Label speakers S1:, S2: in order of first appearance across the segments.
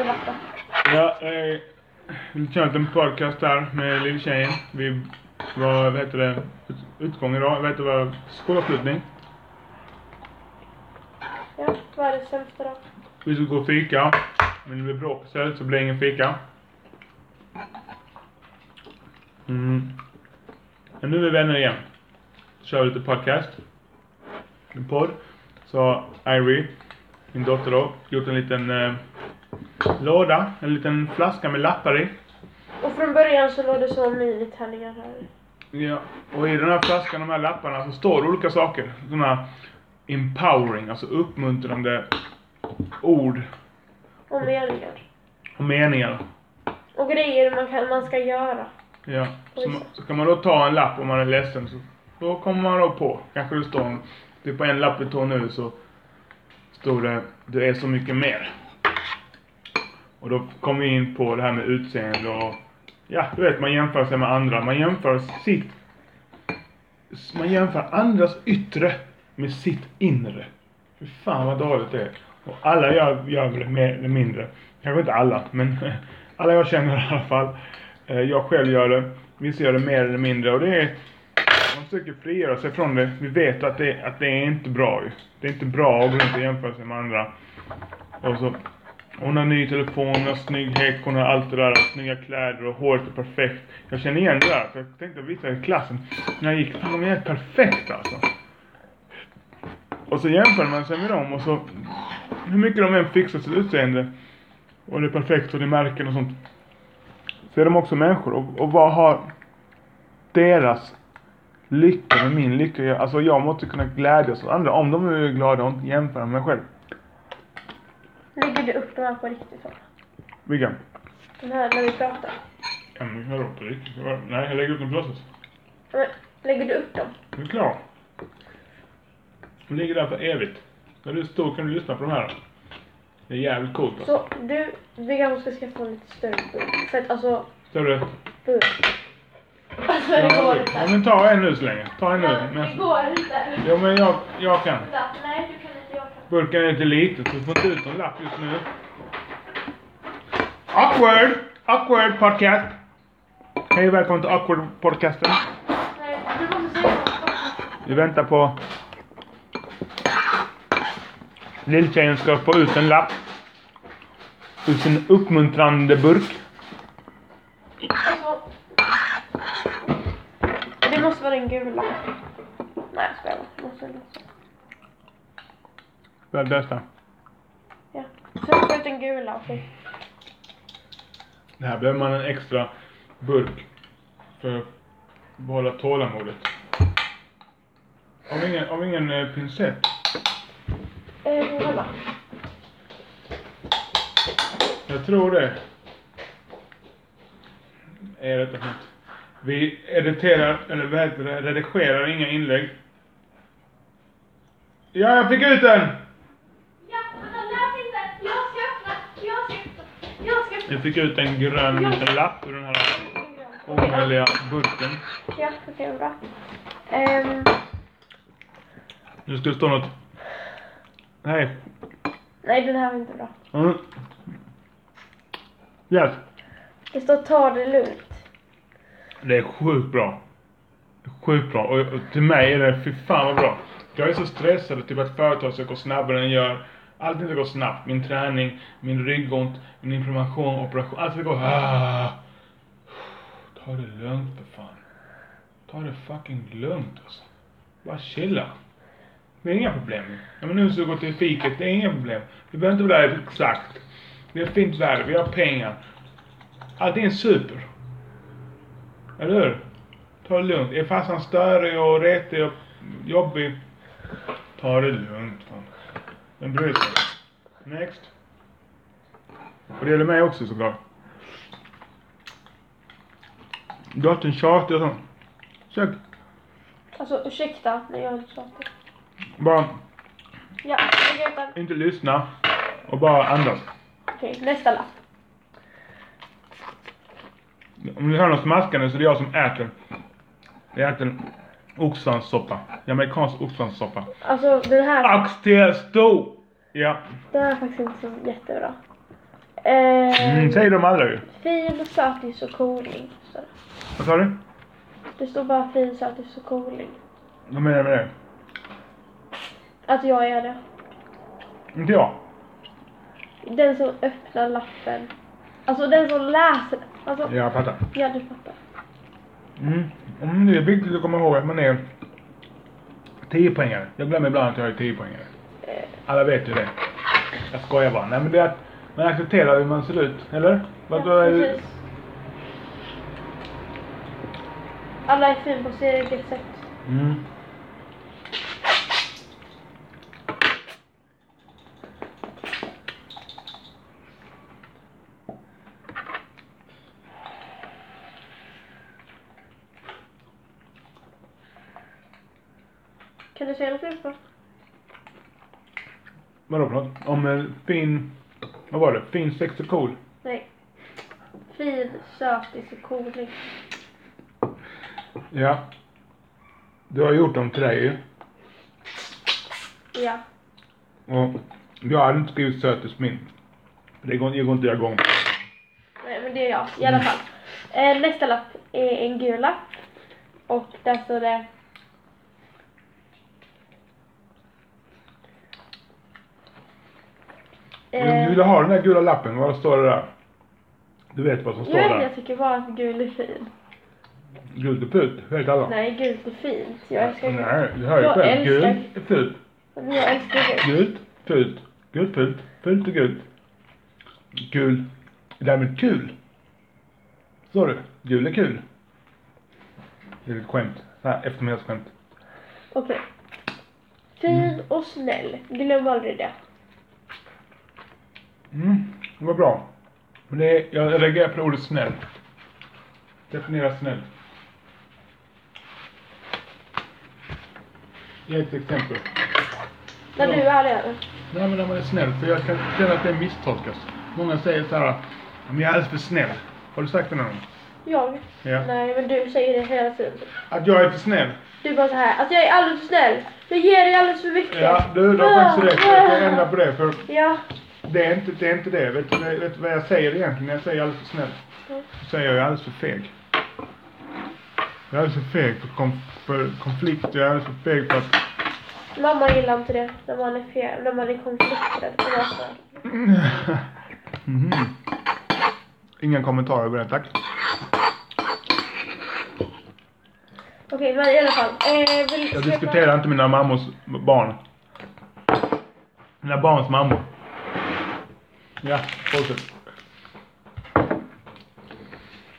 S1: i vatten.
S2: Ja, eh, vi kör en liten podcast här med lilltjejen. Vi var, vad heter det, ut- utgång idag, vad heter det, skolavslutning.
S1: Ja, vad är det sämsta då?
S2: Vi skulle gå och fika, men det blev bråk istället så blev det ingen fika. Mm. Men nu är vi vänner igen. Kör lite podcast. En podd. Så har Irie, min dotter då, gjort en liten eh, låda, en liten flaska med lappar i.
S1: Och från början så låg det så minitärningar här.
S2: Ja, och i den här flaskan, de här lapparna, så står det olika saker. Sådana empowering, alltså uppmuntrande ord
S1: Och meningar.
S2: och meningar.
S1: Och grejer man, kan, man ska göra.
S2: Ja. Så, ma- så kan man då ta en lapp om man är ledsen. Så, då kommer man då på, kanske det står, en- typ på en lapp vi tar nu så står det du är så mycket mer. Och då kommer vi in på det här med utseende och ja, du vet man jämför sig med andra. Man jämför sitt man jämför andras yttre med sitt inre. Fy fan vad dåligt det är. Och alla gör, gör väl det mer eller mindre. Kanske inte alla, men alla jag känner i alla fall. Eh, Jag själv gör det. Vissa gör det mer eller mindre. Och det är... Man försöker frigöra sig från det. Vi vet att det, att det är inte bra ju. Det är inte bra att gå runt och jämföra sig med andra. Och så, hon har ny telefon, hon har snygg häck, hon har allt det där. Snygga kläder och håret är perfekt. Jag känner igen det där. För jag tänkte visa i klassen. När jag gick, fan de är helt perfekta alltså. Och så jämför man sig med dem och så... Hur mycket de än fixar sitt utseende. Och det är perfekt och det är märken och sånt. Så är de också människor. Och, och vad har deras lycka med min lycka att göra? Alltså jag måste kunna glädjas åt andra. Om de nu är glada och inte jämföra med mig själv.
S1: Lägger du upp de här på riktigt då?
S2: Vilken?
S1: Den här när vi pratar.
S2: Ja, men jag låter riktigt. Nej, jag lägger upp den på låtsas.
S1: Men, Lägger du upp dem?
S2: Den är klar. Den ligger där för evigt. När du är stor kan du lyssna på de här. Det är jävligt coolt alltså.
S1: Så du, vi kanske ska skaffa en lite större burk. För att alltså,
S2: Ser du?
S1: burk. Alltså det går
S2: Ja,
S1: inte.
S2: men ta en nu så länge. Ta en nu.
S1: Det
S2: Men,
S1: går inte.
S2: ja, men jag, jag kan.
S1: Nej, du kan inte göra
S2: Burken är lite liten så du får inte ut någon lapp just nu. Awkward! Awkward podcast! Hej och välkommen till Awkward podcasten.
S1: Nej, du måste säga något.
S2: Vi väntar på... Lilltjejen ska få ut en lapp. Ur sin uppmuntrande burk.
S1: Alltså. Det måste vara den gula. Nej, jag skojar bara. Det måste vara den rosa.
S2: Väl bästa.
S1: Ja. Sätt på ut den gula, okej.
S2: Det här behöver man en extra burk. För att behålla tålamodet. Av ingen, av ingen eh, pincett.
S1: Eh, kolla.
S2: Jag tror det. Är det något? Vi editerar, eller vad heter det, redigerar inga inlägg. Ja, jag fick ut den!
S3: Ja, men den läs inte. Jag ska öppna. Jag ska öppna. Jag ska öppna.
S2: Jag fick ut en grön liten lapp ur den här omöjliga burken.
S1: Ja, okej, vad bra. Ehm,
S2: Nu ska det stå något... Nej.
S1: nej, den här var inte bra.
S2: Mm. Yes.
S1: Det står ta det lugnt.
S2: Det är sjukt bra. Sjukt bra. Och och till mig är det, fy fan vad bra. Jag är så stressad, typ att företag ska gå snabbare än gör. Allting ska gå snabbt. Min träning, min ryggont, min inflammation, operation. Allt ska gå... Ah. Ta det lugnt för fan. Ta det fucking lugnt alltså. Bara chilla. Det är inga problem. Ja, men nu så går till fiket, det är inga problem. Vi behöver inte vara där exakt. Det är fint väder, vi har pengar. Allting är super. Eller hur? Ta det lugnt. Är farsan störig och retig och jobbig? Ta det lugnt. Fan. Den bryr sig. Next. Och det gäller mig också såklart. Dottern tjatar och sånt. Försök
S1: Alltså, ursäkta, men jag är inte tjatig.
S2: bara
S1: Ja, lägg ut den.
S2: inte lyssna och bara andas.
S1: Okej, nästa lapp.
S2: Om ni hör något smaskande så är det jag som äter. Jag äter oxfranssoppa. Jamaicansk oxfranssoppa.
S1: Alltså, den här,
S2: Oxtailstå! Ja.
S1: den här är faktiskt inte så jättebra. Eh,
S2: Mm, säg de andra ju.
S1: Fil, satis och koling. står det.
S2: Vad sa du?
S1: Det står bara fil, satis och koling.
S2: Vad menar du med det?
S1: Att Alltså, jag är det.
S2: Inte jag.
S1: Den som öppnar lappen. Alltså den som läser. Alltså, ja.
S2: Jag fattar.
S1: du fattar.
S2: Mm. Mm, det är viktigt att komma ihåg att man är 10 poängare. Jag glömmer ibland att jag är 10 poängare.
S1: Eh,
S2: Alla vet ju det. Jag skojar bara. Nej men det är att man accepterar hur man ser ut, eller? Vad då
S1: ja,
S2: är-
S1: precis. Alla är fina på sitt eget sätt.
S2: Mm.
S1: Kan du säga något mer på?
S2: Vadå för något? Om eh, fin... Vad var det? Fin, sex och cool.
S1: Nej. Fil, sötis och koling.
S2: Ja. Du har gjort dem till dig ju.
S1: Ja.
S2: Och jag hade inte skrivit sötis min. För Det går, jag går inte jag igång på.
S1: Nej, men det är jag i alla fall. Eh, nästa lapp är en gul lapp. Och där står det...
S2: Du
S1: Eh,
S2: ville ha den där gula lappen. Vad står det där? Du vet vad som står
S1: jag, vet,
S2: där?
S1: jag tycker bara att gul är fin.
S2: Gult och put. Vet alla?
S1: Nej, gult är fint. Jag älskar gult.
S2: Nej, du hör ju
S1: Jag
S2: själv.
S1: älskar-
S2: Gult och put.
S1: Men jag älskar gult.
S2: Gult, fult, gult, fult, fult och gult. Kul. Det där med kul. Står du? Gul är kul. Det är ett skämt. Så här, eftermiddagsskämt.
S1: Okej. Fin och snäll. Glöm aldrig det.
S2: Mm, det var bra. Men det är, jag reagerar på ordet snäll. Definiera snäll. Ge ett exempel.
S1: När du är det.
S2: Nej men när man är snäll, för jag kan känna att det misstolkas. Många säger så här, men jag är alldeles för snäll. Har du sagt det någon gång?
S1: Jag?
S2: Ja.
S1: Nej, men du säger det hela tiden.
S2: Att jag är för snäll?
S1: Du bara så här. Alltså jag är alldeles för snäll. Jag ger dig alldeles för mycket. Ah,
S2: Ja, du, du har faktiskt rätt. Jag ska ändra på det, för
S1: Ja.
S2: det är inte det. Är inte det. Vet, du, vet du vad jag säger egentligen när jag säger alldeles för snäll? Då säger jag jag är alldeles för feg. Jag är alldeles för feg för, konf- för konflikt. Jag är alldeles för feg för att...
S1: Mamma gillar inte det när man är fel, när man är konflikträdd. Det var så.
S2: Mhm. Inga kommentarer på det, tack.
S1: Okej, men i alla fall. Eh, vill,
S2: Jag
S1: ska jag
S2: diskuterar inte mina mammors barn. Mina barns mammor. Ja, fortsätt.
S1: prata-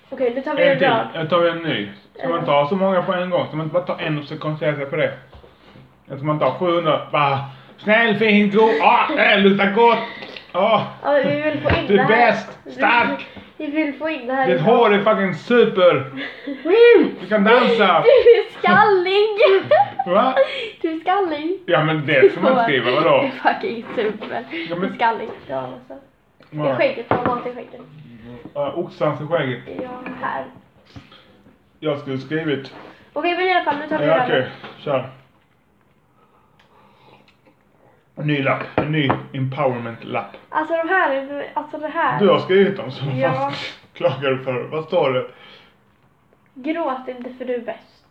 S1: Okej, nu tar vi
S2: En
S1: en
S2: till.
S1: rad.
S2: Jag tar en ny. Ska man ta så många på en gång? Ska man inte bara ta en och så koncentrera sig på det? Eller ska man ta 700? Bara snäll, fin, god, ah, äh, luktar gott. Ah,
S1: Ja, men vi vill få in
S2: Du är
S1: det här.
S2: bäst, stark.
S1: Vi, vi vill få in det här. i-
S2: ditt hår är fucking super. Woo! Du kan dansa.
S1: Du är skallig!
S2: Va?
S1: Du är skallig.
S2: Ja men det får man inte skriva,
S1: Du
S2: vadå?
S1: är fucking super.
S2: Ja, men-
S1: Du är skallig. Ja, alltså. Det är
S2: Ja,
S1: skägget, ta mat i skägget.
S2: ja, eh, Oxsvans i skägget.
S1: Ja, här.
S2: Jag skulle skrivit.
S1: Okej, men i alla fall, nu tar vi
S2: Ja,
S1: rad.
S2: okej, kör. En ny lapp. En ny empowerment-lapp.
S1: Alltså de här, är- alltså det här.
S2: Du har skrivit dem, så
S1: Ja.
S2: vad fan klagar du för? Vad står det?
S1: Gråt inte för du är bäst.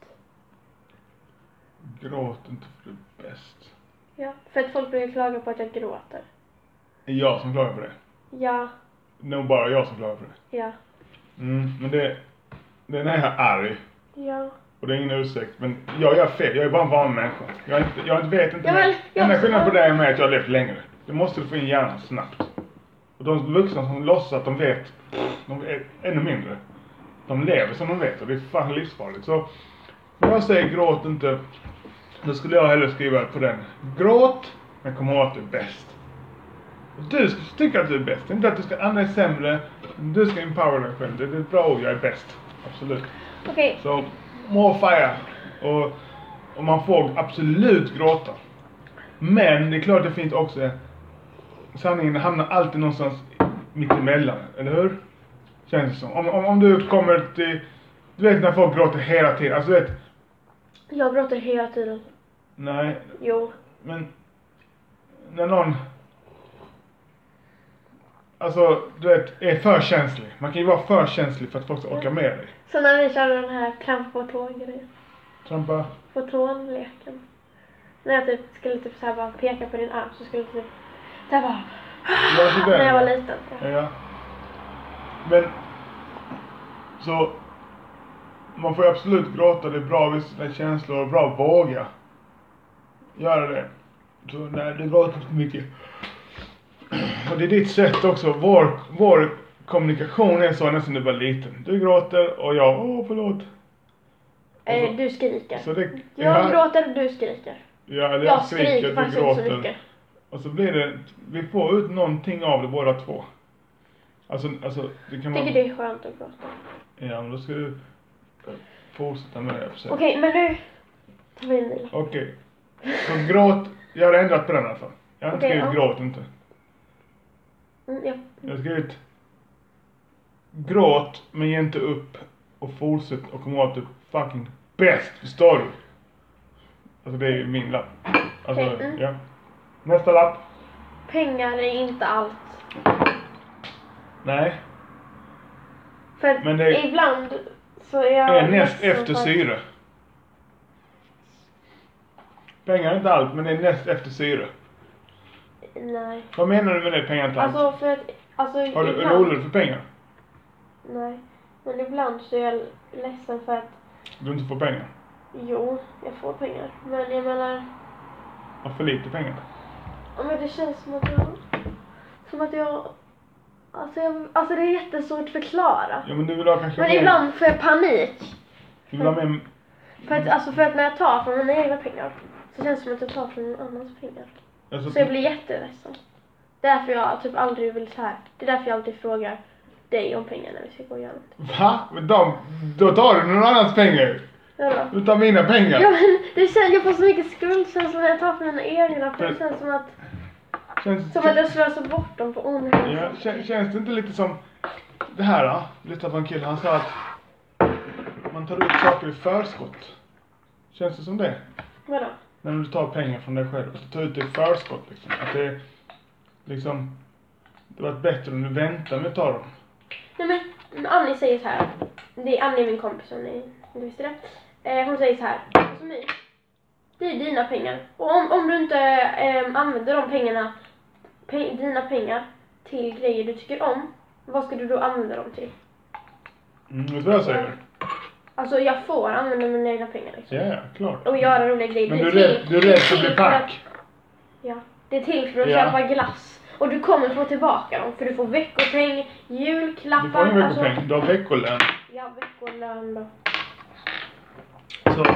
S2: Gråt inte för det är bäst.
S1: Ja, för att folk brukar klaga på att jag gråter.
S2: Det är jag som klagar på det.
S1: Ja,
S2: Nog bara jag som klagar på det.
S1: ja,
S2: Mm, men det... Det är när jag är arg.
S1: ja.
S2: Och det är ingen ursäkt, men jag gör fel. Jag är bara en vanlig människa. Jag, är inte, jag vet inte...
S1: Ja, men
S2: mer.
S1: jag-
S2: Enda skillnaden på dig och mig är att jag har levt längre. Det måste du få in i hjärnan snabbt. Och de vuxna som låtsas att de vet, de är ännu mindre. De lever som de vet och det är fan livsfarligt. Så när jag säger gråt inte, då skulle jag hellre skriva på den. Gråt, men kom ihåg att du är bäst. Och du ska tycka att du är bäst. Inte att du ska andra är sämre. Du ska empower dig själv. Det är ett bra ord, jag är bäst. Absolut.
S1: Okej,
S2: Så more fire. Och, och man får absolut gråta. Men det är klart det finns också sanningen hamnar alltid någonstans mittemellan, eller hur? Känns det som. Om, om, om du kommer till, du vet när folk gråter hela tiden, alltså du vet,
S1: jag gråter hela tiden.
S2: nej,
S1: Jo.
S2: men när någon alltså du vet, är för känslig. Man kan ju vara för känslig för att folk ska orka med dig.
S1: Så när vi körde den här trampa på tån-grejen.
S2: Trampa.
S1: På tån-leken. När jag typ skulle typ så här bara peka på din arm så skulle du typ så här bara...
S2: Var det så där?
S1: När jag var liten.
S2: Ja. Men, så, man får ju absolut gråta, det är bra att visa sina känslor och bra att våga göra det. Så nej, det gråter inte mycket. Och det är ditt sätt också, vår, vår kommunikation är så ända sedan du var liten. Du gråter och jag, åh förlåt.
S1: Eh, du skriker.
S2: Så det,
S1: Jag gråter och du skriker.
S2: ja, eller
S1: Jag skriker
S2: du
S1: faktiskt inte så
S2: gråter.
S1: mycket.
S2: Och så blir det, vi får ut någonting av det båda två. Alltså, alltså det kan
S1: Jag
S2: vara...
S1: tycker det är skönt att gråta.
S2: Ja, men då ska du fortsätta med det. jag försöker.
S1: Okej, men nu tar vi en vila.
S2: Okej. Så gråt. Jag har ändrat på den i alla fall. Jag har inte
S1: Okej,
S2: skrivit
S1: ja.
S2: gråt inte.
S1: Mm, ja.
S2: Jag har skrivit gråt men ge inte upp och fortsätt och kom ihåg att du är fucking bäst. Förstår du? Alltså det är ju min lapp. Alltså,
S1: Okej, mm.
S2: ja. Nästa lapp.
S1: Pengar är inte allt.
S2: Nej.
S1: För att
S2: Men det är-
S1: ibland så är jag...
S2: Det är näst
S1: ledsen
S2: efter
S1: för-
S2: syre. Pengar är inte allt, men det är näst efter syre.
S1: Nej.
S2: Vad menar du med det, pengar är inte allt?
S1: Alltså för att... Alltså
S2: Har du roligt för pengar?
S1: Nej. Men ibland så är jag ledsen för att
S2: Du inte får pengar?
S1: jo, jag får pengar. Men jag menar...
S2: Har för lite pengar?
S1: Ja men det känns som att jag... Som att jag... Alltså, jag, alltså det är jättesvårt att förklara.
S2: Ja men du vill ha kanske
S1: Men
S2: mer,
S1: ibland får jag panik.
S2: Du vill ha mer,
S1: För att, alltså för att när jag tar från mina egna pengar så känns det som att jag tar från någon annans pengar.
S2: alltså,
S1: Så jag blir jätteledsen. Därför jag typ aldrig vill så här. Det är därför jag alltid frågar dig om pengar när vi ska gå igenom.
S2: Va? Men de, då tar du någon annans pengar
S1: Ja,
S2: Du tar mina pengar?
S1: ja men det känns, jag får så mycket skuldkänsla när jag tar från mina egna för det
S2: Men-
S1: känns som att,
S2: Känns,
S1: som att jag slösar bort dem på onödan.
S2: ja, kän, känns det inte lite som det här då? Lyssna på en kille, han sa att man tar ut saker i förskott. Känns det som det?
S1: Vadå?
S2: När du tar pengar från dig själv, så tar du ut det i förskott liksom. Att det är liksom, det var bättre om du väntar med att ta dem.
S1: Nej men Annie säger så här. Det är Annie min kompis om ni inte visste det. Eh, hon säger så här. Som ni. Det är dina pengar. Och om, om du inte eh, använder de pengarna, pe- dina pengar till grejer du tycker om. Vad ska du då använda dem till?
S2: Mm, vet du vad jag säger?
S1: Alltså jag får använda mina egna pengar liksom.
S2: Ja, ja, klart.
S1: Och göra roliga grejer.
S2: Men
S1: Det
S2: du är
S1: till-
S2: rädd, du är rädd för att
S1: det är till
S2: bli
S1: för att-
S2: pank.
S1: Ja. Det är till för att
S2: Ja.
S1: köpa glass. Och du kommer få tillbaka dem för du får veckopeng, julklappar.
S2: Du får ingen
S1: alltså-
S2: veckopeng, du har veckolön.
S1: Ja, veckolön då.
S2: Så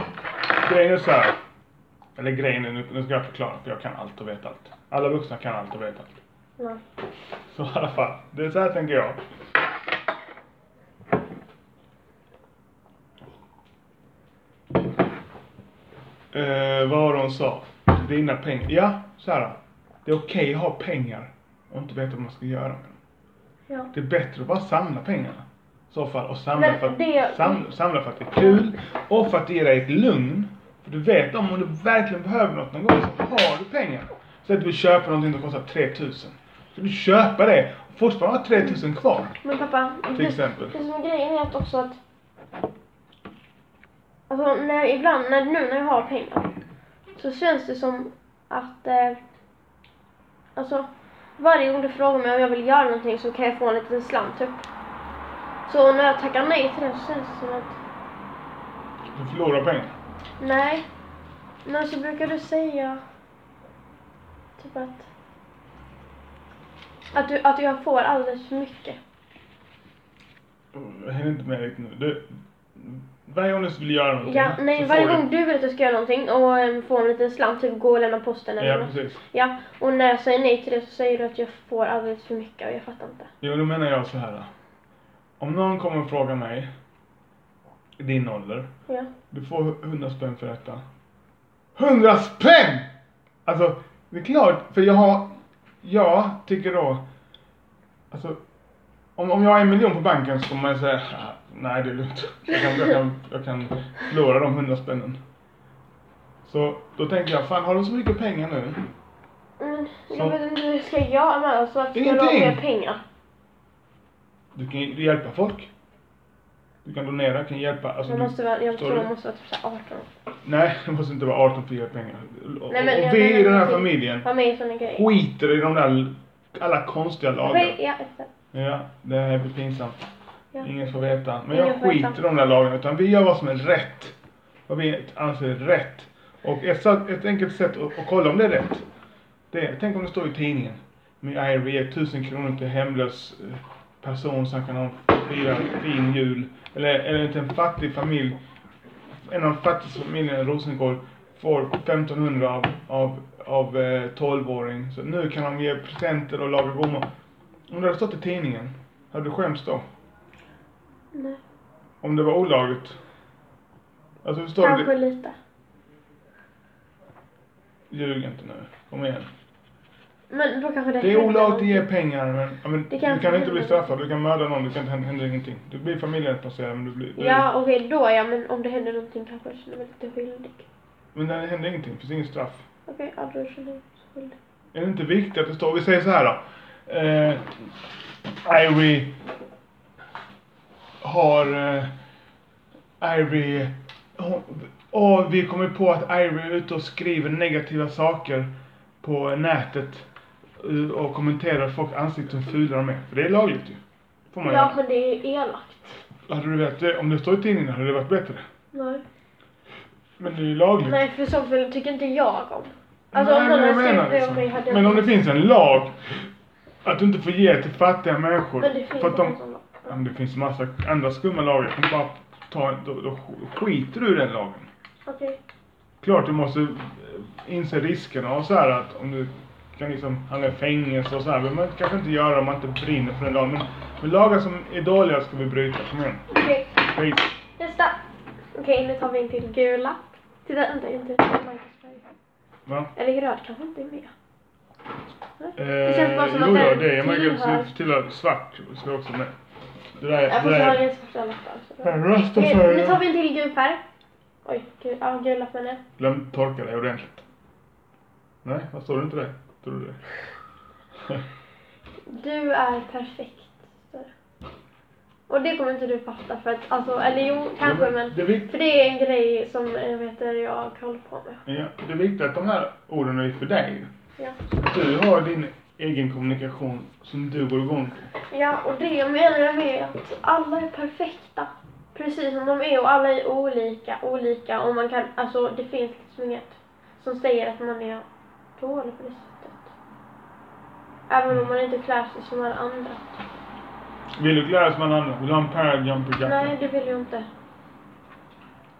S2: grejen är så här. Eller grejen är, nu nu ska jag förklara för jag kan allt och vet allt. Alla vuxna kan allt och vet allt.
S1: Ja.
S2: Så i alla fall, det är så här tänker jag. Eh, vad var det hon sa? Dina pengar. Ja, så här. Det är okej att ha pengar och inte veta vad man ska göra med dem.
S1: ja.
S2: Det är bättre att bara samla pengarna. I så fall. Och samla,
S1: Men
S2: för att,
S1: det- mm.
S2: samla, samla för att det är kul och för att det ger dig ett lugn. För du vet om, om du verkligen behöver något någon gång så har du pengar. Så att du köper någonting som kostar 3000. Så du köper det och fortfarande har 3000 kvar.
S1: Men pappa,
S2: Till
S1: det,
S2: exempel.
S1: det som är grejen är att också att... Alltså när, ibland, när, nu när jag har pengar så känns det som att... Eh, alltså varje gång du frågar mig om jag vill göra någonting så kan jag få en liten slant typ. Så när jag tackar nej till det så känns det som att...
S2: Du förlorar pengar.
S1: Nej. Men så brukar du säga... Typ att... Att, du, att jag får alldeles för mycket.
S2: Jag hänger inte med riktigt nu. Du, varje gång du vill göra någonting
S1: Ja, nej,
S2: så
S1: varje
S2: får du-
S1: gång du vill att jag ska göra någonting och äm, får en liten slant, typ gå och lämna posten eller
S2: Ja,
S1: något.
S2: precis.
S1: Ja, och när jag säger nej till det så säger du att jag får alldeles för mycket och jag fattar inte.
S2: Jo, då menar jag så här. då. Om någon kommer och frågar mig, i din ålder,
S1: Ja.
S2: Du får 100 spänn för detta. 100 spänn! Alltså, det är klart, för jag har... Jag tycker då... Alltså, om, om jag har en miljon på banken så kommer man säga "Ah, nej det är lugnt. Jag kan, jag kan, jag kan förlora de 100 spännen. Så då tänker jag, fan har du så mycket pengar nu?
S1: Men jag
S2: Så-
S1: vet inte hur jag ska göra med det, så att jag
S2: Ingenting.
S1: har mer pengar.
S2: Du kan ju hjälpa folk. Du kan donera, kan hjälpa. Alltså,
S1: Man
S2: du-
S1: måste vara, jag
S2: förstår
S1: tror
S2: du?
S1: man måste vara typ så här 18.
S2: Nej, det måste inte vara 18 för att ge pengar. Och,
S1: Nej, men
S2: och
S1: jag
S2: vi
S1: menar
S2: i den här
S1: typ-
S2: familjen
S1: Var med i såna grejer.
S2: skiter i de där alla konstiga lagarna.
S1: Okej, ja, exakt.
S2: Ja, det här blir pinsamt.
S1: Ja.
S2: Ingen får veta. Men
S1: Ingen
S2: jag
S1: får veta.
S2: skiter i de där lagarna. Utan vi gör vad som är rätt. Vad vi anser är rätt. Och ett, sa- ett enkelt sätt att, att kolla om det är rätt. Det är, tänk om det står i tidningen. Min IRV ger 1000 kronor till hemlös eh, person så han kan ha en fira fin jul. Eller, eller till en fattig familj. En av de fattigaste familjerna i Rosengård får 1500 av, av, av eh, 12-åring. Så nu kan de ge presenter och laga blommor. Om det hade stått i tidningen, hade du skämts då?
S1: Nej.
S2: Om det var olagligt? Alltså förstår
S1: Kanske
S2: du?
S1: lite.
S2: Ljug inte nu. Kom igen.
S1: Men då kanske det
S2: Det är
S1: händer
S2: olagligt att ge
S1: någonting.
S2: pengar men, ja, men
S1: Det
S2: du
S1: kan-
S2: kan inte bli straffad, du kan mörda någon, det kan inte hända ingenting. Du blir familjeplacerad men du blir... du-
S1: Ja, okej då ja, men om det händer någonting kanske jag känner mig lite skyldig.
S2: Men det händer ingenting, det finns inget straff.
S1: Okej, ja då känner jag mig skyldig.
S2: Är det inte viktigt att det står, vi säger så här då. Eh, Ivory har... Eh, Ivory... Hon, och vi kommer på att Ivory är ute och skriver negativa saker på nätet eh, och kommenterar folk ansikten fula de är. För det är lagligt ju. Får man
S1: Ja,
S2: göra.
S1: men det är ju elakt.
S2: Hade du vetat det, om det står i tidningen hade det varit bättre.
S1: Nej.
S2: Men det är ju lagligt.
S1: Nej, för sånt vill- tycker inte jag om. Alltså om
S2: Nej,
S1: någon
S2: men
S1: hade
S2: jag menar
S1: skrivit det
S2: liksom.
S1: om mig hade jag...
S2: Men om det finns en lag att du inte får ge till fattiga människor.
S1: Men det finns alltså-
S2: för att de,
S1: en sån lag.
S2: Ja, men det finns massa andra skumma lagar. Du bara ta, då, då skiter du i den lagen.
S1: Okej.
S2: Klart du måste eh, inse riskerna och så här att om du kan liksom hamna i fängelse och så här. Men man kanske inte göra om man inte brinner för den lagen. Men, men lagar som är dåliga ska vi bryta. Kom igen.
S1: Okej,
S2: Skit.
S1: nästa. Okej, nu tar vi en till gul lapp. Titta, vänta, inte Marcus färg.
S2: Va?
S1: Eller röd kanske inte är med.
S2: Det
S1: känns bara som att
S2: Eh, jo, ja,
S1: den
S2: det är
S1: tillhör-
S2: man tillhör svart. Ska också med. Det där,
S1: Jag
S2: det
S1: får
S2: där
S1: ta
S2: är...
S1: den svarta lappen. så bra.
S2: Jag röstar
S1: Okej,
S2: för
S1: Nu tar vi en till gul färg. Oj, gul, ja, gul lapp menar jag.
S2: Glöm torka dig ordentligt. Nej, vad står det inte det? Tror du det?
S1: Du är perfekt. står det. Och det kommer inte du fatta för att, alltså, eller jo, kanske men.
S2: Det, är vik-
S1: För det är en grej som jag vet att jag håller på med.
S2: ja, det är viktigt att de här orden är för dig.
S1: Ja.
S2: Du har din egen kommunikation som du går igång på.
S1: Ja, och det menar jag med att alla är perfekta. Precis som de är och alla är olika, olika och man kan, alltså det finns liksom inget som säger att man är dålig på det sättet. Även om man inte klär sig som alla andra.
S2: Vill du klä dig som alla andra? Vill du ha en parad jumper jacka?
S1: Nej, det vill jag inte.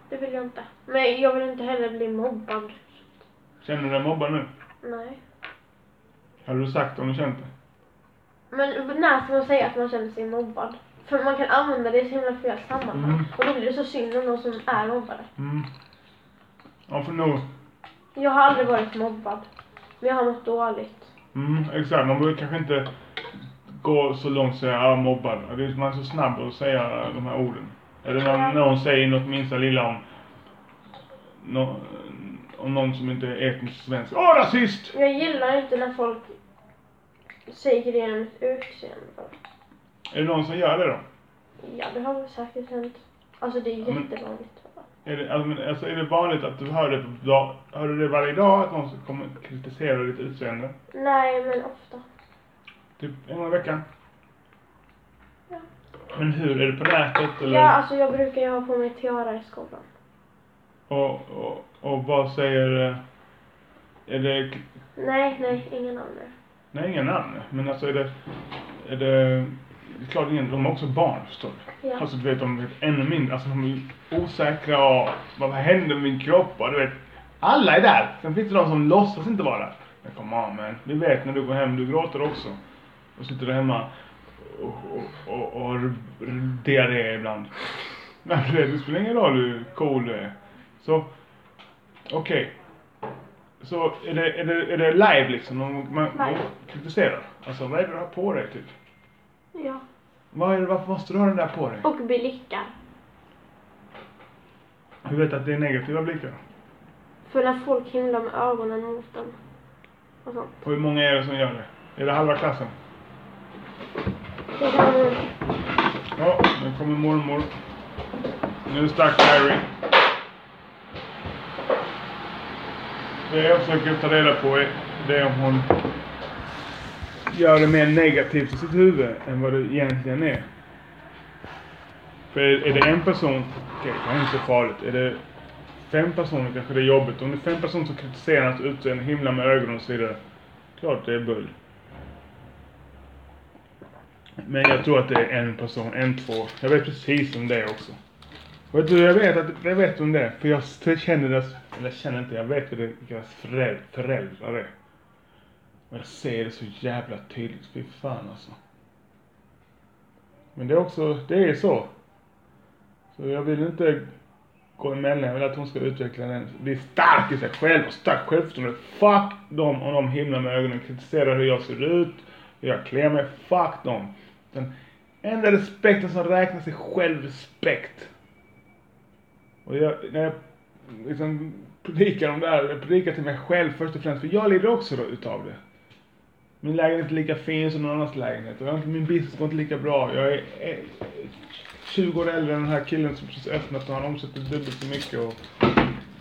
S1: Det vill jag inte. Men jag vill inte heller bli mobbad.
S2: Känner du dig mobbad nu?
S1: Nej.
S2: Hade du sagt om du känt det?
S1: Men när ska man säga att man känner sig mobbad? För man kan använda det i så himla fel sammanhang.
S2: Mm.
S1: Och då blir det så synd om någon som är mobbade.
S2: Mm. Ja, för nog.
S1: Jag har aldrig varit mobbad. Men jag har mått dåligt.
S2: Mm, exakt. Man behöver kanske inte gå så långt och säga ja, mobbad. Det är, man är så snabb att säga de här orden. Eller när någon säger något minsta lilla om, nå- om någon som inte är etnisk svensk. Åh, rasist!
S1: Jag gillar inte när folk säger det genom mitt utseende.
S2: Är det någon som gör det då?
S1: Ja, det har väl säkert hänt. Alltså det är
S2: Ja, men-
S1: jättevanligt.
S2: Är det, alltså, men, alltså, är det vanligt att du hör det, på dag, hör du det varje dag? Att någon kommer och kritiserar ditt utseende?
S1: Nej, men ofta.
S2: Typ en gång i veckan?
S1: Ja.
S2: Men hur? Är det på nätet eller?
S1: Ja, alltså jag brukar ju ha på mig tiara i skolan.
S2: Och, och, och vad säger... eh, Är det
S1: Nej, nej, ingen av er.
S2: Nej, inga namn. Men alltså är det... Är det... Det är klart, ingen, de är också barn förstår du.
S1: Ja.
S2: Alltså du vet, de vet ännu mindre. Alltså de är ju osäkra och vad händer med min kropp och du vet. Alla är där! Sen finns det de som låtsas inte vara där. Men kom on man. Vi vet när du går hem, du gråter också. Och sitter du hemma och, och, och, och har diarré ibland. Men du vet, det spelar ingen roll hur cool du är. Så, okej. Så är det, är det, är det live liksom? Man, man, man
S1: Live.
S2: kritiserar? Alltså vad är det du har på dig typ?
S1: Ja.
S2: Vad är det, varför måste du ha den där på dig?
S1: Och blickar.
S2: Du vet att det är negativa blickar.
S1: För när folk himlar med ögonen mot dem. Och sånt.
S2: Och hur många är det som gör det? Är det halva klassen?
S1: Det kan,
S2: Nu kommer mormor. Nu stack Harry. Det jag försöker ta reda på är det om hon gör det mer negativt i sitt huvud än vad det egentligen är. För är är det en person, okej det är inte så farligt. Är det fem personer kanske det är jobbigt. Om det är fem personer som kritiserar hans utseende, himlar med ögonen och så vidare. Klart det är bull. Men jag tror att det är en person, en, två. Jag vet precis om det är också. Vet du, jag vet, att, jag vet om det är, För jag s- känner deras, eller jag känner inte, jag vet hur det- deras föräl- föräldrar är. Och jag ser det så jävla tydligt. Fy fan alltså. Men det är också, det är så. Så jag vill inte gå emellan. Jag vill att hon ska utveckla den. Bli stark i sig själv och stark självförtroende. Fuck dem om de himlar med ögonen och kritiserar hur jag ser ut, hur jag klär mig. Fuck dem. Den enda respekten som räknas är självrespekt. Och jag, när jag liksom predikar om det här, jag predikar till mig själv först och främst, för jag lider också då utav det. Min lägenhet är inte lika fin som någon annans lägenhet. Och jag har inte- min business går inte lika bra. Jag är eh, 20 år äldre än den här killen som precis öppnat och han omsätter dubbelt så mycket. Och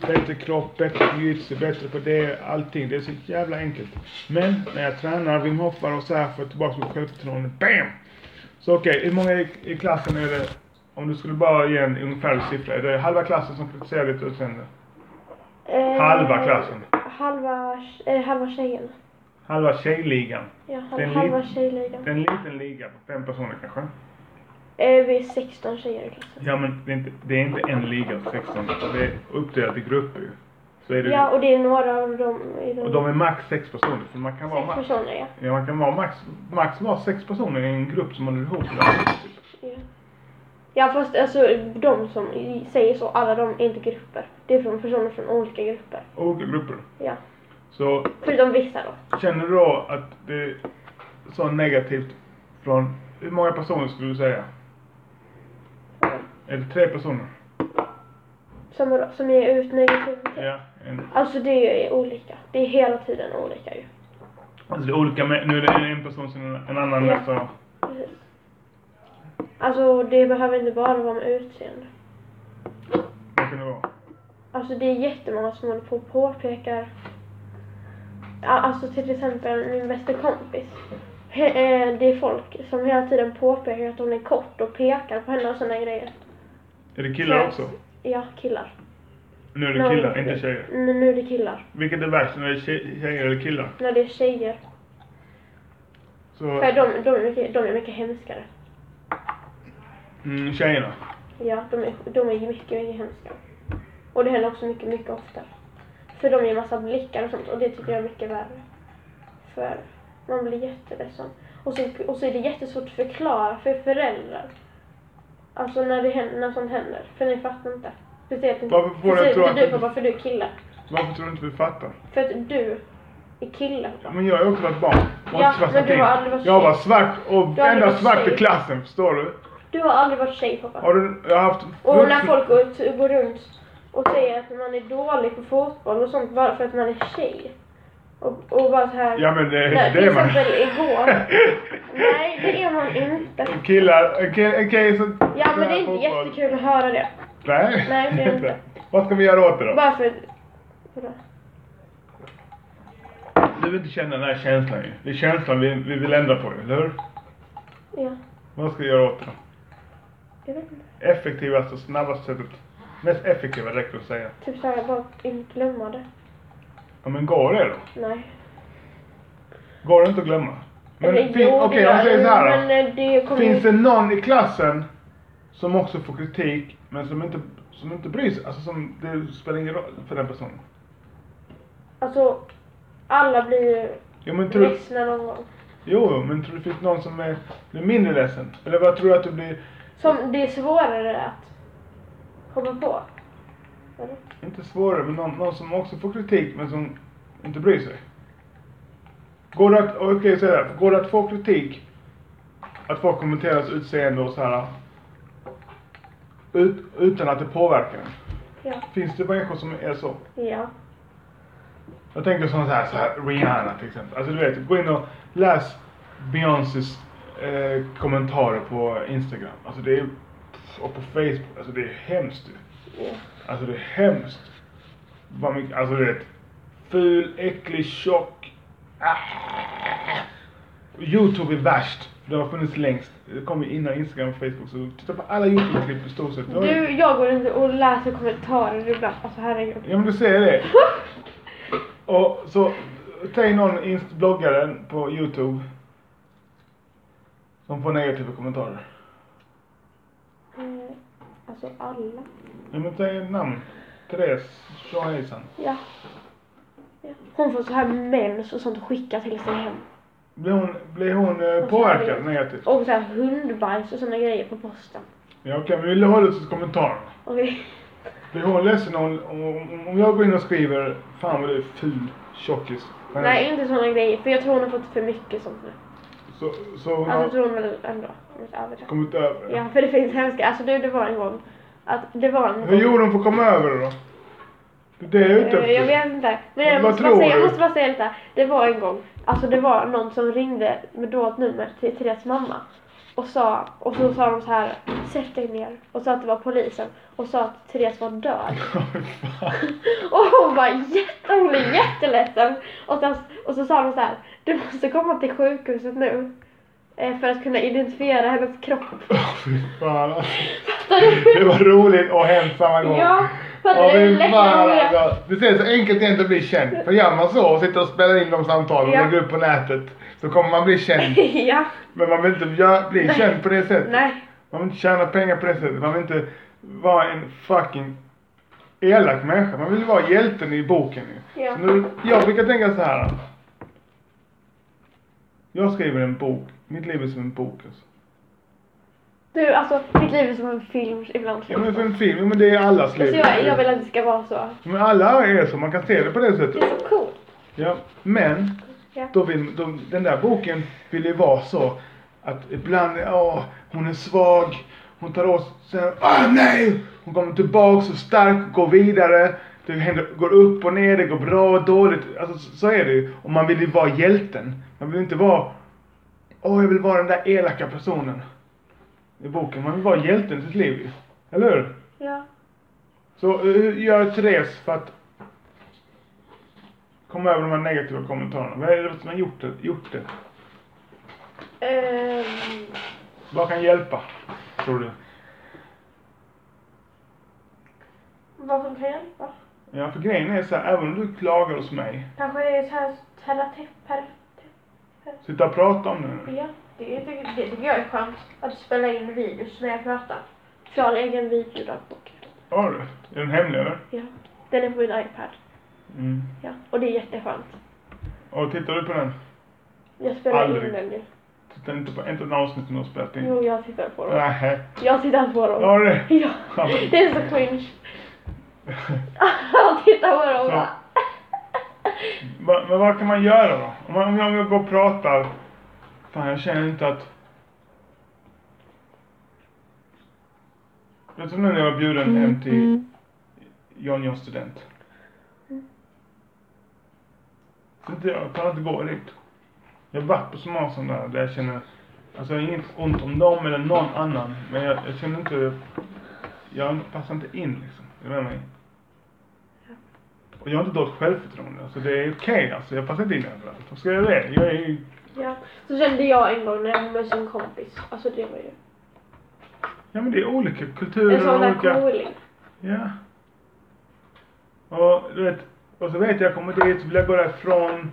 S2: bättre kropp, bättre jujutsu, bättre på det, allting. Det är så jävla enkelt. Men när jag tränar, Wim Hoffar och så här får jag tillbaka mitt självförtroende. BAM! Så okej, hur många i, i klassen är det? Om du skulle bara ge en ungefärlig siffra. Är det halva klassen som kritiserar ditt utseende?
S1: Eh,
S2: Halva klassen.
S1: Halva, eh, halva tjejen.
S2: Halva tjejligan.
S1: Ja,
S2: Det
S1: halva,
S2: är en
S1: halva
S2: lit-
S1: tjejligan.
S2: Det är en liten liga på fem personer kanske.
S1: Eh, vi är 16 tjejer i klassen.
S2: Ja men det är inte, det är inte en liga på 16. Det är uppdelat i grupper ju. Så är det
S1: Ja, och det är några av dem. I
S2: Och de är max sex personer. För man kan vara
S1: sex
S2: max,
S1: personer, ja.
S2: ja, man kan vara max, max vara sex personer i en grupp som håller ihop. Där.
S1: ja. Ja, fast alltså de som i- säger så, alla de är inte grupper. Det är från personer från olika grupper.
S2: Olika grupper.
S1: Ja.
S2: Så
S1: Förutom vissa då.
S2: känner du då att det är så negativt från, hur många personer skulle du säga? Är det tre personer?
S1: Som, som ger ut negativitet.
S2: Ja. En,
S1: Alltså det är olika. Det är hela tiden olika ju.
S2: alltså det är olika, men nu är det en person som en, en annan
S1: Ja.
S2: nästa.
S1: Precis. Alltså det behöver inte bara vara med utseende.
S2: Vad kan det vara?
S1: Alltså det är jättemånga som håller på och påpekar. Ja, Alltså till exempel min bästa kompis. He- eh, Det är folk som hela tiden påpekar att hon är kort och pekar på henne och sådana grejer.
S2: Är det killar
S1: Så-
S2: också?
S1: Ja, killar.
S2: Nu är det
S1: Nej,
S2: killar, inte tjejer.
S1: Men nu är det killar.
S2: Vilket är värst, när det är tje- tjejer eller killar?
S1: När det är tjejer.
S2: Så,
S1: För de, de, är, mycket, de är mycket hemskare.
S2: mm, tjejerna.
S1: Ja, de är, de är mycket, mycket hemska. Och det händer också mycket, mycket ofta. För de ger massa blickar och sånt och det tycker jag är mycket värre. För man blir jätteledsen. Och så, och så är det jättesvårt att förklara för föräldrar. Alltså när, det händer, när sånt händer. För ni fattar inte. Speciellt inte,
S2: Varför får jag
S1: speciellt
S2: tro
S1: inte
S2: att-
S1: du pappa, för du är kille.
S2: Varför tror du inte vi fattar?
S1: För att du är kille.
S2: Ja, Men jag har ju också varit barn. Jag
S1: Ja,
S2: inte svartat
S1: men du
S2: in.
S1: har aldrig varit
S2: Jag var
S1: tjej.
S2: svart och
S1: Du har aldrig
S2: enda
S1: varit
S2: svart i
S1: tjej.
S2: klassen, förstår du?
S1: Du har aldrig varit tjej pappa.
S2: Har du, jag har haft...
S1: Och när folk går, går runt och säger att man är dålig på fotboll och sånt bara för att man är tjej. Och, och bara så här.
S2: Ja men det,
S1: Nej,
S2: det
S1: till
S2: är man.
S1: exempel igår. Nej, det är man inte.
S2: En Killar, en kille, en kille som...
S1: Ja, men det är inte
S2: fotboll.
S1: jättekul att höra det.
S2: Nej.
S1: Nej, det är inte.
S2: Vad ska vi göra åt det då?
S1: Bara för... Vadå?
S2: Du vill inte känna den här känslan ju. Det är känslan vi, vi vill ändra på ju, eller hur?
S1: Ja,
S2: Vad ska vi göra åt det då?
S1: jag vet inte.
S2: Effektivaste och snabbaste sättet. Mest effektiva räcker det att säga.
S1: Typ såhär, bara inte glömma det.
S2: Ja men går det då?
S1: Nej.
S2: Går det inte att glömma? Men
S1: Eller,
S2: fin-
S1: jo, det
S2: okej,
S1: gör
S2: jag säger
S1: det,
S2: så här då.
S1: Men eh, det kommer
S2: Finns
S1: ju...
S2: det någon i klassen som också får kritik, men som inte, som inte bryr sig? Alltså som, det spelar ingen roll för den personen.
S1: Alltså, alla blir ju
S2: Jo men tror, jo,
S1: ledsna någon gång.
S2: jo, men tror du det finns någon som är, blir mindre ledsen? Eller vad tror du att du blir,
S1: Som det är svårare att komma på. Eller?
S2: inte svårare, men någon, någon som också får kritik, men som inte bryr sig? Går det att, okej okay, här, går det att få kritik, att folk kommenterar ens utseende och så här, ut, utan att det påverkar en?
S1: Ja.
S2: Finns det människor som är så?
S1: Ja.
S2: Jag tänker sånt här, så här, Rihanna till exempel. Alltså du vet, gå in och läs Beyoncés eh, kommentarer på Instagram. Alltså det är och på Facebook. Alltså det är hemskt du.
S1: Ja.
S2: Alltså det är hemskt. Vad mycket, alltså du vet. Ful, äcklig, tjock. Ah. Youtube är värst. Det har funnits längst. Det kom ju innan Instagram och Facebook. Så titta på alla Youtube-klipp i stort sett. Det har ju-
S1: Du, jag går inte och läser kommentarer ibland. Alltså herregud.
S2: Ja men du säger det. Och så, säg någon inst- bloggare på Youtube. Som får negativa kommentarer.
S1: Eh, Alltså alla.
S2: Ja men säg ett namn. Therese tjohejsan.
S1: Ja. Ja. Hon får så här mens och sånt skickat till sig hem.
S2: Blir hon, blir hon eh, påverkad negativt?
S1: Och så här hundbajs och såna grejer på posten.
S2: Ja okej, men vi vill hålla oss till kommentarerna.
S1: Okej.
S2: Blir hon ledsen om, om, om jag går in och skriver Fan vad du är ful tjockis. Men-
S1: Nej, inte såna grejer. För jag tror hon har fått för mycket sånt nu.
S2: Så, så hon
S1: Alltså
S2: har
S1: tror hon väl ändå. Om jag ska överdriva.
S2: kommit över det.
S1: Ja, för det finns hemska. Alltså du, det var en gång. Att det var en
S2: Hur gjorde hon för att komma över det då? Det är jag ute
S1: Eh,
S2: efter.
S1: Jag vet inte. Men jag
S2: Vad
S1: måste, bara
S2: tror
S1: säga, jag
S2: du?
S1: måste bara säga detta. Det var en gång. Alltså det var någon som ringde med dolt nummer till Therese mamma. Och, sa, och så sa de så här, sätt dig ner. Och sa att det var polisen. Och sa att Therese var död.
S2: Fan.
S1: Och hon var jätte, hon blev jätteledsen. Och, sen, och så sa de så här, du måste komma till sjukhuset nu. eh, För att kunna identifiera hennes kropp.
S2: Fy fan alltså.
S1: Fattar du?
S2: Det var roligt och hemskt samma gång.
S1: Ja,
S2: Ja,
S1: fattar du hur
S2: fy
S1: lätt
S2: fan,
S1: hon blev?
S2: alltså. Det är så enkelt det är inte att bli känd. För gör man så och sitter och spelar in de samtalen
S1: Ja.
S2: och lägger upp på nätet så kommer man bli känd.
S1: Ja,
S2: Men man vill inte gö- bli känd på det sättet.
S1: nej.
S2: Man vill inte tjäna pengar på det sättet. Man vill inte vara en fucking elak människa. Man vill vara hjälten i boken ju.
S1: Ja.
S2: Så nu, jag brukar tänka så här. Jag skriver en bok. Mitt liv är som en bok alltså.
S1: Du, alltså mitt liv är som en film ibland.
S2: Ja men för en film, ja, men det är allas liv.
S1: Alltså, jag, jag vill att det ska vara så.
S2: Men alla är så, man kan se det på det
S1: Det
S2: sättet.
S1: är så coolt.
S2: Ja. Men,
S1: Ja.
S2: då vill, då, den där boken vill ju vara så att ibland, ja, hon är svag, hon tar åt sig, åh nej! Hon kommer tillbaks så stark, går vidare, det händer, går upp och ner, det går bra och dåligt. Alltså så, så är det ju. Och man vill ju vara hjälten. Man vill inte vara, åh jag vill vara den där elaka personen. I boken, man vill vara hjälten i sitt liv ju. Eller hur?
S1: Ja.
S2: Så eh, hur gör Therese för att komma över de här negativa kommentarerna? Vad är det som har gjort det? Gjort det?
S1: Ehm,
S2: Vad kan hjälpa? Tror du?
S1: vad som kan hjälpa?
S2: Ja, för grejen är så här, även om du klagar hos mig,
S1: Kanske det är så här terapeuter.
S2: sitta och prata om det nu.
S1: Ja, det, det, det tycker jag är skönt. Att spela in videos när jag pratar. Jag har en egen videodagbok.
S2: Har du? Är den hemlig eller?
S1: Ja. Den är på min iPad.
S2: Mm.
S1: Ja. Och det är jätteskönt.
S2: Och tittar du på den?
S1: Jag spelar in
S2: Aldrig. Mm.
S1: den nu.
S2: Tittar inte på inte ett avsnitt som du har spelat in?
S1: Jo, jag tittar på dem.
S2: Nähä.
S1: Jag tittar på dem.
S2: Har du?
S1: Ja. Det är så cringe. Han tittar på dem och
S2: Så.
S1: bara...
S2: Va- Men vad kan man göra då? Om, man, om jag går och pratar. Fan, jag känner inte att... Vet du nu när jag var bjuden hem
S1: Mm.
S2: till John Johns student? Så inte jag kan inte gå dit. Jag har varit på så många sådana där, där jag känner... Alltså jag har inget ont om dem eller någon annan. Men jag, jag känner inte... Jag passar inte in liksom. Jag menar mig. Och jag har inte dåligt självförtroende. Alltså det är okej alltså. Jag passar inte in överallt. Vad ska jag göra det? Jag är ju...
S1: Ja, så kände jag en gång när jag var med sin kompis. Alltså det var ju
S2: Ja men det är olika
S1: en
S2: kulturer
S1: sån
S2: och
S1: där
S2: olika...
S1: cooling.
S2: Ja. Och du vet, och så vet jag, jag kommer dit, så vill jag gå därifrån.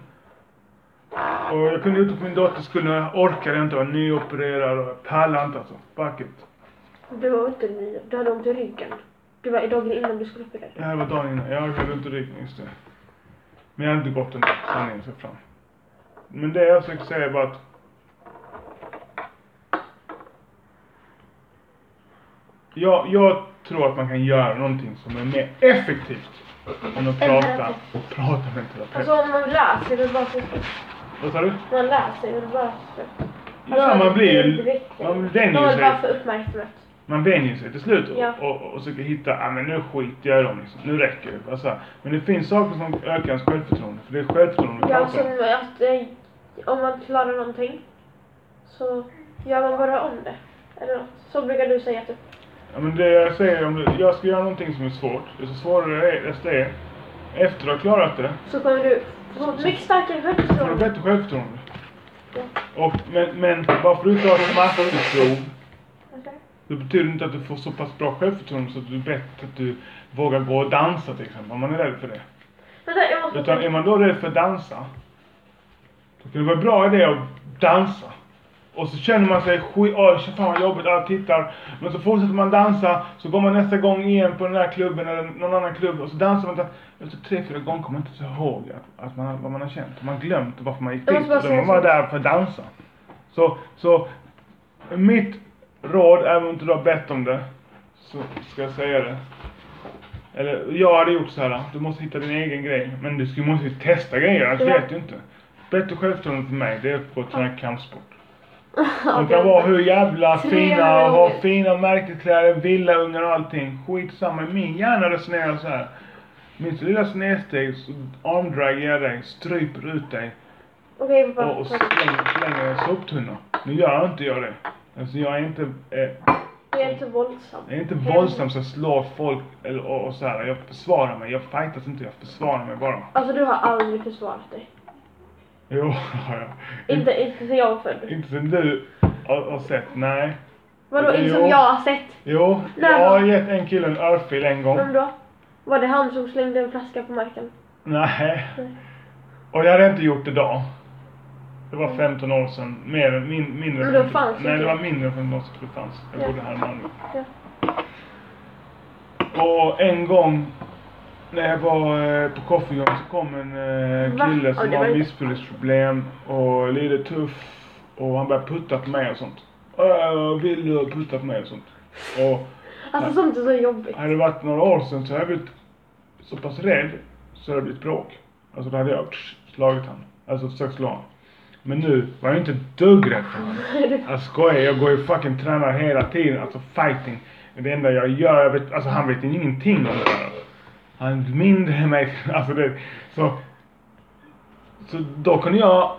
S2: Och jag kunde inte på min dotters skull, men jag orkade inte, jag var nyopererad och jag pallade inte alltså. Fuck it.
S1: Du var inte ny, du hade ont i ryggen. Du var i dagen innan du skulle operera.
S2: Det här var dagen innan, jag hade ont i ryggen, just det. Men jag hade inte gått ändå, sanningen ska fram. Men det jag försöker säga är bara att jag, jag tror att man kan göra någonting som är mer effektivt än att
S1: En
S2: prata,
S1: terapeut.
S2: prata med en terapeut.
S1: Alltså om man läser det bara så...
S2: Vad sa du?
S1: Man läser det bara så... Alltså,
S2: Ja, man blir ju... Man
S1: Man
S2: vänjer
S1: vill bara
S2: sig.
S1: få uppmärksamhet.
S2: Man vänjer sig till slut och,
S1: Ja.
S2: och, och försöker hitta, ah, men nu skiter jag i dem liksom. Nu räcker det. Bara så här. Men det finns saker som ökar ens självförtroende. För det är självförtroende vi
S1: Ja,
S2: pratar
S1: som
S2: om.
S1: att eh, om man klarar någonting så gör man bara om det. Eller något. Så brukar du säga typ.
S2: Ja, men det jag säger, om du, jag ska göra någonting som är svårt, desto svårare det är- det är, efter att du har klarat det,
S1: Så kommer du få mycket starkare
S2: får du
S1: självförtroende.
S2: bättre självförtroende. Och, men, men bara för att du inte har ett masterprov,
S1: Okej.
S2: det betyder inte att du får så pass bra självförtroende så att du är bättre, att du vågar gå och dansa till exempel, om man är rädd för det.
S1: Vänta, jag måste...
S2: Utan är man då rädd för att dansa, då kan det vara en bra idé att dansa. Och så känner man sig skit, åh shit, fan vad jobbigt, alla tittar. Men så fortsätter man dansa, så går man nästa gång igen på den där klubben eller någon annan klubb och så dansar man. Efter tre, fyra gånger kommer man inte ens ihåg att, att man, vad man har känt. Man har glömt varför man gick
S1: Jag
S2: dit.
S1: måste bara
S2: utan
S1: säga
S2: Man var
S1: så.
S2: där för att dansa. Så, så mitt råd, även om inte du har bett om det, så ska jag säga det. Eller jag hade gjort så här. Du måste hitta din egen grej. Men du ska, måste ju testa grejer. Annars
S1: Ja.
S2: vet du inte. Bättre självförtroende för mig det är att gå och träna kampsport. De
S1: Okej.
S2: kan vara hur jävla
S1: Tre
S2: fina och ha
S1: miljoner.
S2: fina märkeskläder, villaungar och allting. Skitsamma. Min hjärna resonerar så här. Minns du lilla snedsteg så armdraggar jag dig, stryper ut dig
S1: Okej, pappa.
S2: och, och slänger, slänger en soptunna. Nu gör inte jag det. Alltså jag är inte... Eh,
S1: Jag är inte våldsam.
S2: jag är inte våldsam så jag slår folk eller, och, och så här. Jag försvarar mig. Jag fightas inte, jag försvarar mig bara.
S1: Alltså du har aldrig försvarat dig.
S2: Jo, har jag.
S1: Inte, inte sen jag var född.
S2: Inte sen du har, har sett, nej.
S1: Vadå, inte som
S2: Jo.
S1: jag har sett?
S2: Jo,
S1: Nej, Mm.
S2: jag har
S1: men-
S2: gett en kille en örfil en gång.
S1: Vem då? Var det han som slängde en flaska på marken?
S2: Nej.
S1: Nej.
S2: Och jag hade inte gjort det då. Det var 15 år sedan. Mer, än- min, mindre.
S1: Mm. Men
S2: än
S1: då
S2: 15
S1: fanns inte
S2: Nej, det
S1: det.
S2: var mindre än 15 år sedan det fanns. Jag
S1: Ja.
S2: bodde här i Malmö.
S1: Ja.
S2: Och en gång när jag var eh, på Coffee Jones så kom en eh,
S1: Va?
S2: kille
S1: Ja,
S2: som
S1: det var
S2: har
S1: inte-
S2: missbruksproblem och lite tuff och han började putta på mig och sånt. Äh, vill du putta på mig och sånt. Och
S1: Alltså sånt är så jobbigt.
S2: hade det varit några år sedan så hade jag blivit så pass rädd så hade det blivit bråk. Alltså då hade jag slagit han. Alltså försökt slå honom. Men nu var jag inte ett dugg rädd för honom. Jag skojar, jag går ju fucking tränar hela tiden. Alltså fighting. Det enda jag gör, jag vet, alltså han vet ingenting om det här. Han är mindre än mig. Alltså det, så, så då kunde jag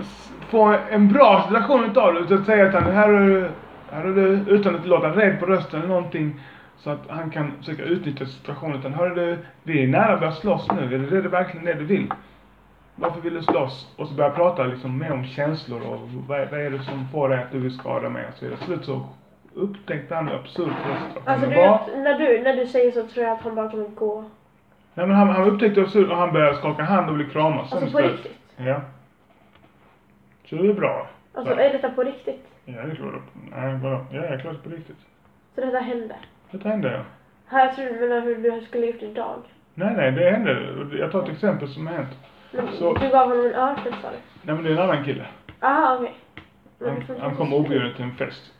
S2: s- få en bra situation utav det. Utan att säga att han, här är, du- här är du, utan att låta rädd på rösten eller någonting. Så att han kan försöka utnyttja situationen. Utan, hörru du, vi är nära att börja slåss nu. Är det, är det verkligen det du vill? Varför vill du slåss? Och så börjar jag prata liksom mer om känslor och vad, är- vad är det som får dig att du vill skada mig och så vidare. Slut så upptäckte han hur absurd
S1: Alltså
S2: frustrationen
S1: du,
S2: var.
S1: vet, när, du, när du säger så tror jag att han bara kommer gå.
S2: Nej men han, han upptäckte hur absurd och han började skaka hand och bli kramad.
S1: Alltså på
S2: istället.
S1: riktigt.
S2: Ja. Så det är bra.
S1: Alltså är detta på riktigt?
S2: Ja, det är klart. Nej, vadå? Ja, jag är klart på riktigt.
S1: Så detta hände?
S2: Det hände ja.
S1: Här jag tror du menar hur du skulle gjort idag.
S2: Nej, nej, det hände. Jag tar ett exempel som har hänt.
S1: Men
S2: Så-
S1: du gav honom en örfil sa du?
S2: Nej, men det är en annan kille.
S1: Aha, okej. Men
S2: Han,
S1: du får inte-
S2: han kom objuden till en fest.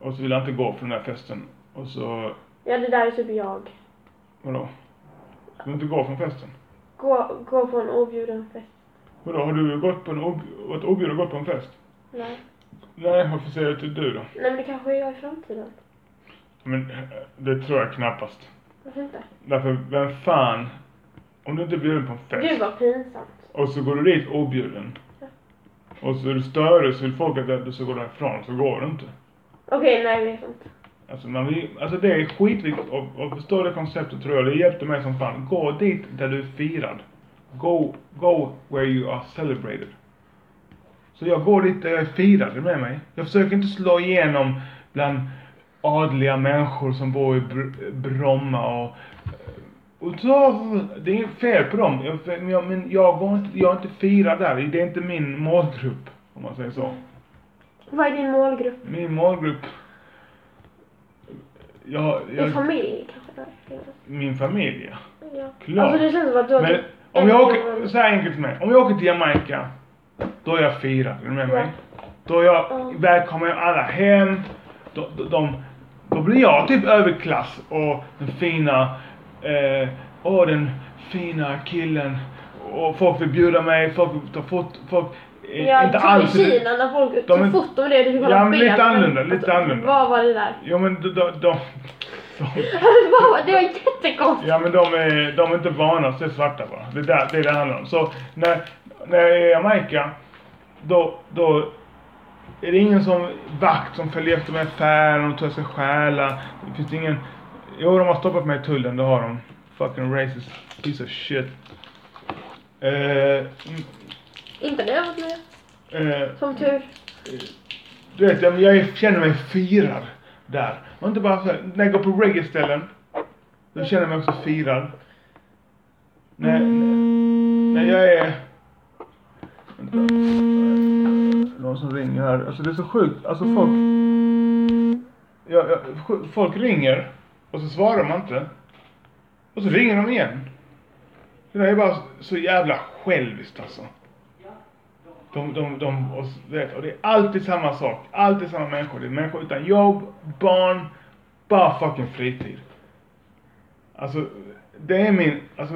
S2: Och så ville han inte gå på den där festen. Och så,
S1: Ja, det där är typ jag.
S2: vadå? Du vill inte gå från festen?
S1: Gå, gå på en objuden fest.
S2: Vadå, har du gått på en ob... varit objuden och gått på en fest?
S1: Nej.
S2: Nej, varför säger du att det är du då?
S1: Nej, men det kanske är jag i framtiden.
S2: Men eh, det tror jag knappast.
S1: Varför inte?
S2: Därför, vem fan... Om du inte blir bjuden på en fest.
S1: Gud vad pinsamt.
S2: Och så går du dit objuden. Och så är du större så vill folk att du ska gå därifrån, så går du inte.
S1: Okej, nej det är sant.
S2: Alltså, man vill, alltså det är skitviktigt att, att förstå det konceptet tror jag. Det hjälpte mig som fan. Gå dit där du är firad. Go, go where you are celebrated. Så jag går dit där jag är firad, är du med mig? Jag försöker inte slå igenom bland adliga människor som bor i Br- Bromma och... Och så, det är inget fel på dem. Jag, men jag, men jag, går inte, jag är inte firad där. Det är inte min målgrupp, om man säger så.
S1: Vad är din målgrupp?
S2: Min målgrupp... Jag,
S1: Din
S2: jag,
S1: familj kanske? då?
S2: min familj, ja.
S1: Ja.
S2: Klart.
S1: Alltså det känns som att du har
S2: Men
S1: typ
S2: om jag
S1: en
S2: åker...
S1: målgrupp.
S2: Så här enkelt med. Om jag åker till Jamaica, då är jag firad. Är du med mig? Då är jag...
S1: Ja.
S2: Välkomnar jag alla hem. Då, då, de, då blir jag typ överklass och den fina... Eh, åh, den fina killen. Och folk vill bjuda mig, folk vill ta fot... Folk... eh,
S1: Ja, inte alls. i
S2: det-
S1: Kina när folk
S2: De
S1: tog
S2: är-
S1: foton med det. Du fick hålla
S2: Ja, men lite
S1: benen.
S2: annorlunda, lite annorlunda.
S1: Alltså, Vad var det där?
S2: Jo men de... de, de, de
S1: Vad var- det var jättekonstigt.
S2: Ja men de är, de är inte vana att se svarta bara. Det är där, det, är det handlar om. Så när, när jag är i Jamaica, då, då Är det ingen som vakt som följer efter mig i affären och tror jag ska stjäla? Det finns ingen... Jo, de har stoppat mig i tullen, det har de. Fucking racist piece of shit. Eh, mm,
S1: Inte det jag varit med
S2: eh,
S1: Som tur.
S2: du vet, jag, jag känner mig firad där. Och inte bara såhär, när jag går på reggae-ställen. Då känner jag mig också firad. När, när, när jag är... Vänta.
S1: Mm.
S2: Någon som ringer här. Alltså det är så sjukt. Alltså folk...
S1: Mm.
S2: Ja, ja, sj- folk ringer och så svarar man inte. Och så ringer de igen. Det där är bara så jävla själviskt alltså. De, de, de, och, s- vet, och det är alltid samma sak. Alltid samma människor. Det är människor utan jobb, barn, bara fucking fritid. Alltså, det är min, alltså,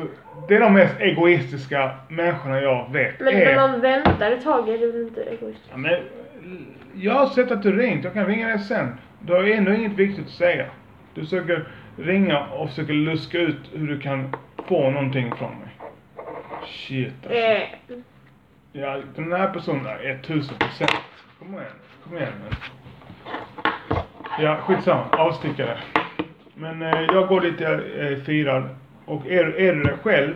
S2: det är de mest egoistiska människorna jag vet
S1: Men
S2: är.
S1: när man väntar ett tag är det väl inte egoistiskt?
S2: Ja, men, jag har sett att du ringt. Jag kan ringa dig sen. Du har ju ändå inget viktigt att säga. Du försöker ringa och försöker luska ut hur du kan få någonting från mig. Shit alltså.
S1: Eh,
S2: Ja, den här personen är 1000 procent. Kom igen. Kom igen nu. Ja, skitsamma. Avstickare. Men eh, jag går lite eh, firad. Och är, är du det själv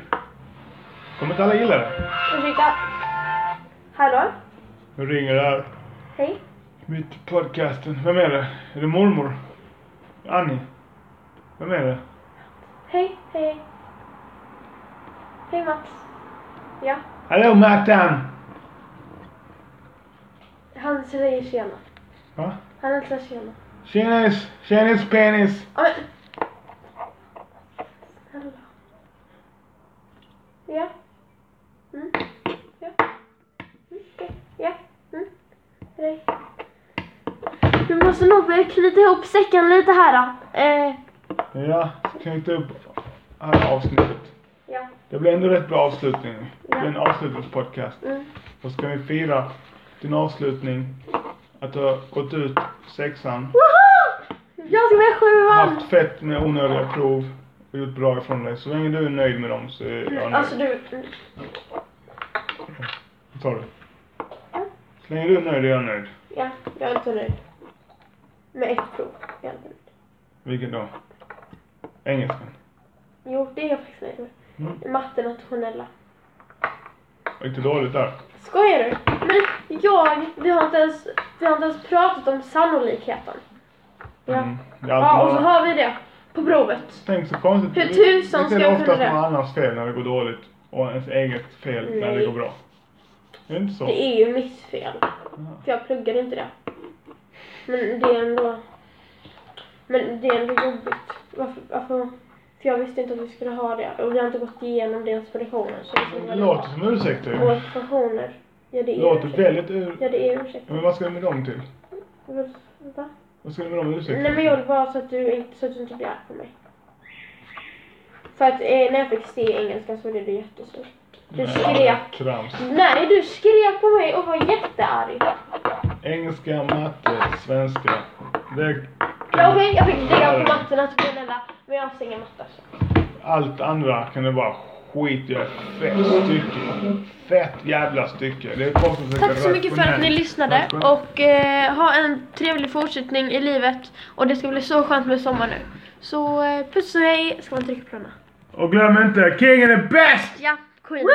S2: kommer inte alla gilla det.
S1: ursäkta. Hallå?
S2: Nu ringer det här.
S1: Hej?
S2: Mitt podcasten. Vem är det? Är det mormor? Annie? Vem är det?
S1: Hej, hej. Hej Mats. Ja,
S2: Hallå Martin!
S1: han säger tjena.
S2: Va?
S1: Han hälsar tjena.
S2: Tjenis! Tjenis penis!
S1: Ja, men... Snälla. Ja. Mm. Ja. Mm. okej. Ja. Mm. Hej. Du måste nog börja knyta ihop säcken lite här då. Eh,
S2: Ja, knyta upp det här avsnittet.
S1: ja.
S2: Det blir ändå rätt bra avslutning. Det blir en
S1: Ja.
S2: avslutningspodcast.
S1: Mm.
S2: Och ska vi fira din avslutning att du har gått ut sexan,
S1: Woho! Jag ska med sjuan!
S2: haft fett med onödiga prov och gjort bra ifrån dig. Så länge du är nöjd med dem så är jag nöjd.
S1: Alltså du,
S2: Vad sa du? Så länge du är nöjd är jag nöjd.
S1: ja, jag är inte nöjd. Med ett prov. Jag är inte nöjd.
S2: Vilken då? Engelskan.
S1: Jo, det är jag faktiskt nöjd med.
S2: Mm.
S1: Matte nationella.
S2: Gick det dåligt där?
S1: Skojar du? Men jag, vi har inte ens, vi har inte ens pratat om sannolikheten. Ja.
S2: Mm. Det är
S1: Ja, och
S2: alltid
S1: så
S2: någon...
S1: har vi det på provet.
S2: Tänk så konstigt.
S1: Hur tusan ska
S2: det
S1: jag
S2: är oftast
S1: kunna det?
S2: någon annans fel när det går dåligt och ens eget fel när det
S1: Nej.
S2: går bra. Är det inte så?
S1: Det är ju mitt fel.
S2: Ja.
S1: För jag pluggade inte det. Men det är ändå... Men det är ändå jobbigt. Varför, varför? För jag visste inte att vi skulle ha det. Och vi har inte gått igenom deras produktioner. Så det
S2: Det låter som ursäkter ju.
S1: Och expansioner. Ja, det
S2: Det
S1: är
S2: Mm. låter
S1: ursäkt.
S2: väldigt ur...
S1: Ja, det är ursäkt.
S2: Ja, Men vad ska du med dem till?
S1: Va?
S2: Vad ska du med dem ursäkter?
S1: Nej men jag vill bara så att du inte, så att du inte blir arg på mig. För att eh, när jag fick se engelskan så blev du jättesur. Du
S2: Nej,
S1: skrek.
S2: Trams.
S1: Nej du skrek på mig och var jättearg.
S2: Engelska, matte, svenska. Det...
S1: Men okej, jag fick dega på matten att bli snälla. Men jag avstänger matte alltså.
S2: Allt andra kan du bara skit i. Jag är Fett stycke. Fett jävla stycke. Det är folk som försöker
S1: Tack så mycket för att ni
S2: rationellt-
S1: lyssnade
S2: rationellt-
S1: och eh, ha en trevlig fortsättning i livet. Och det ska bli så skönt med sommar nu. Så eh, puss och hej, ska man trycka på den här?
S2: Och glöm inte, King är bäst!
S1: Ja, Queen.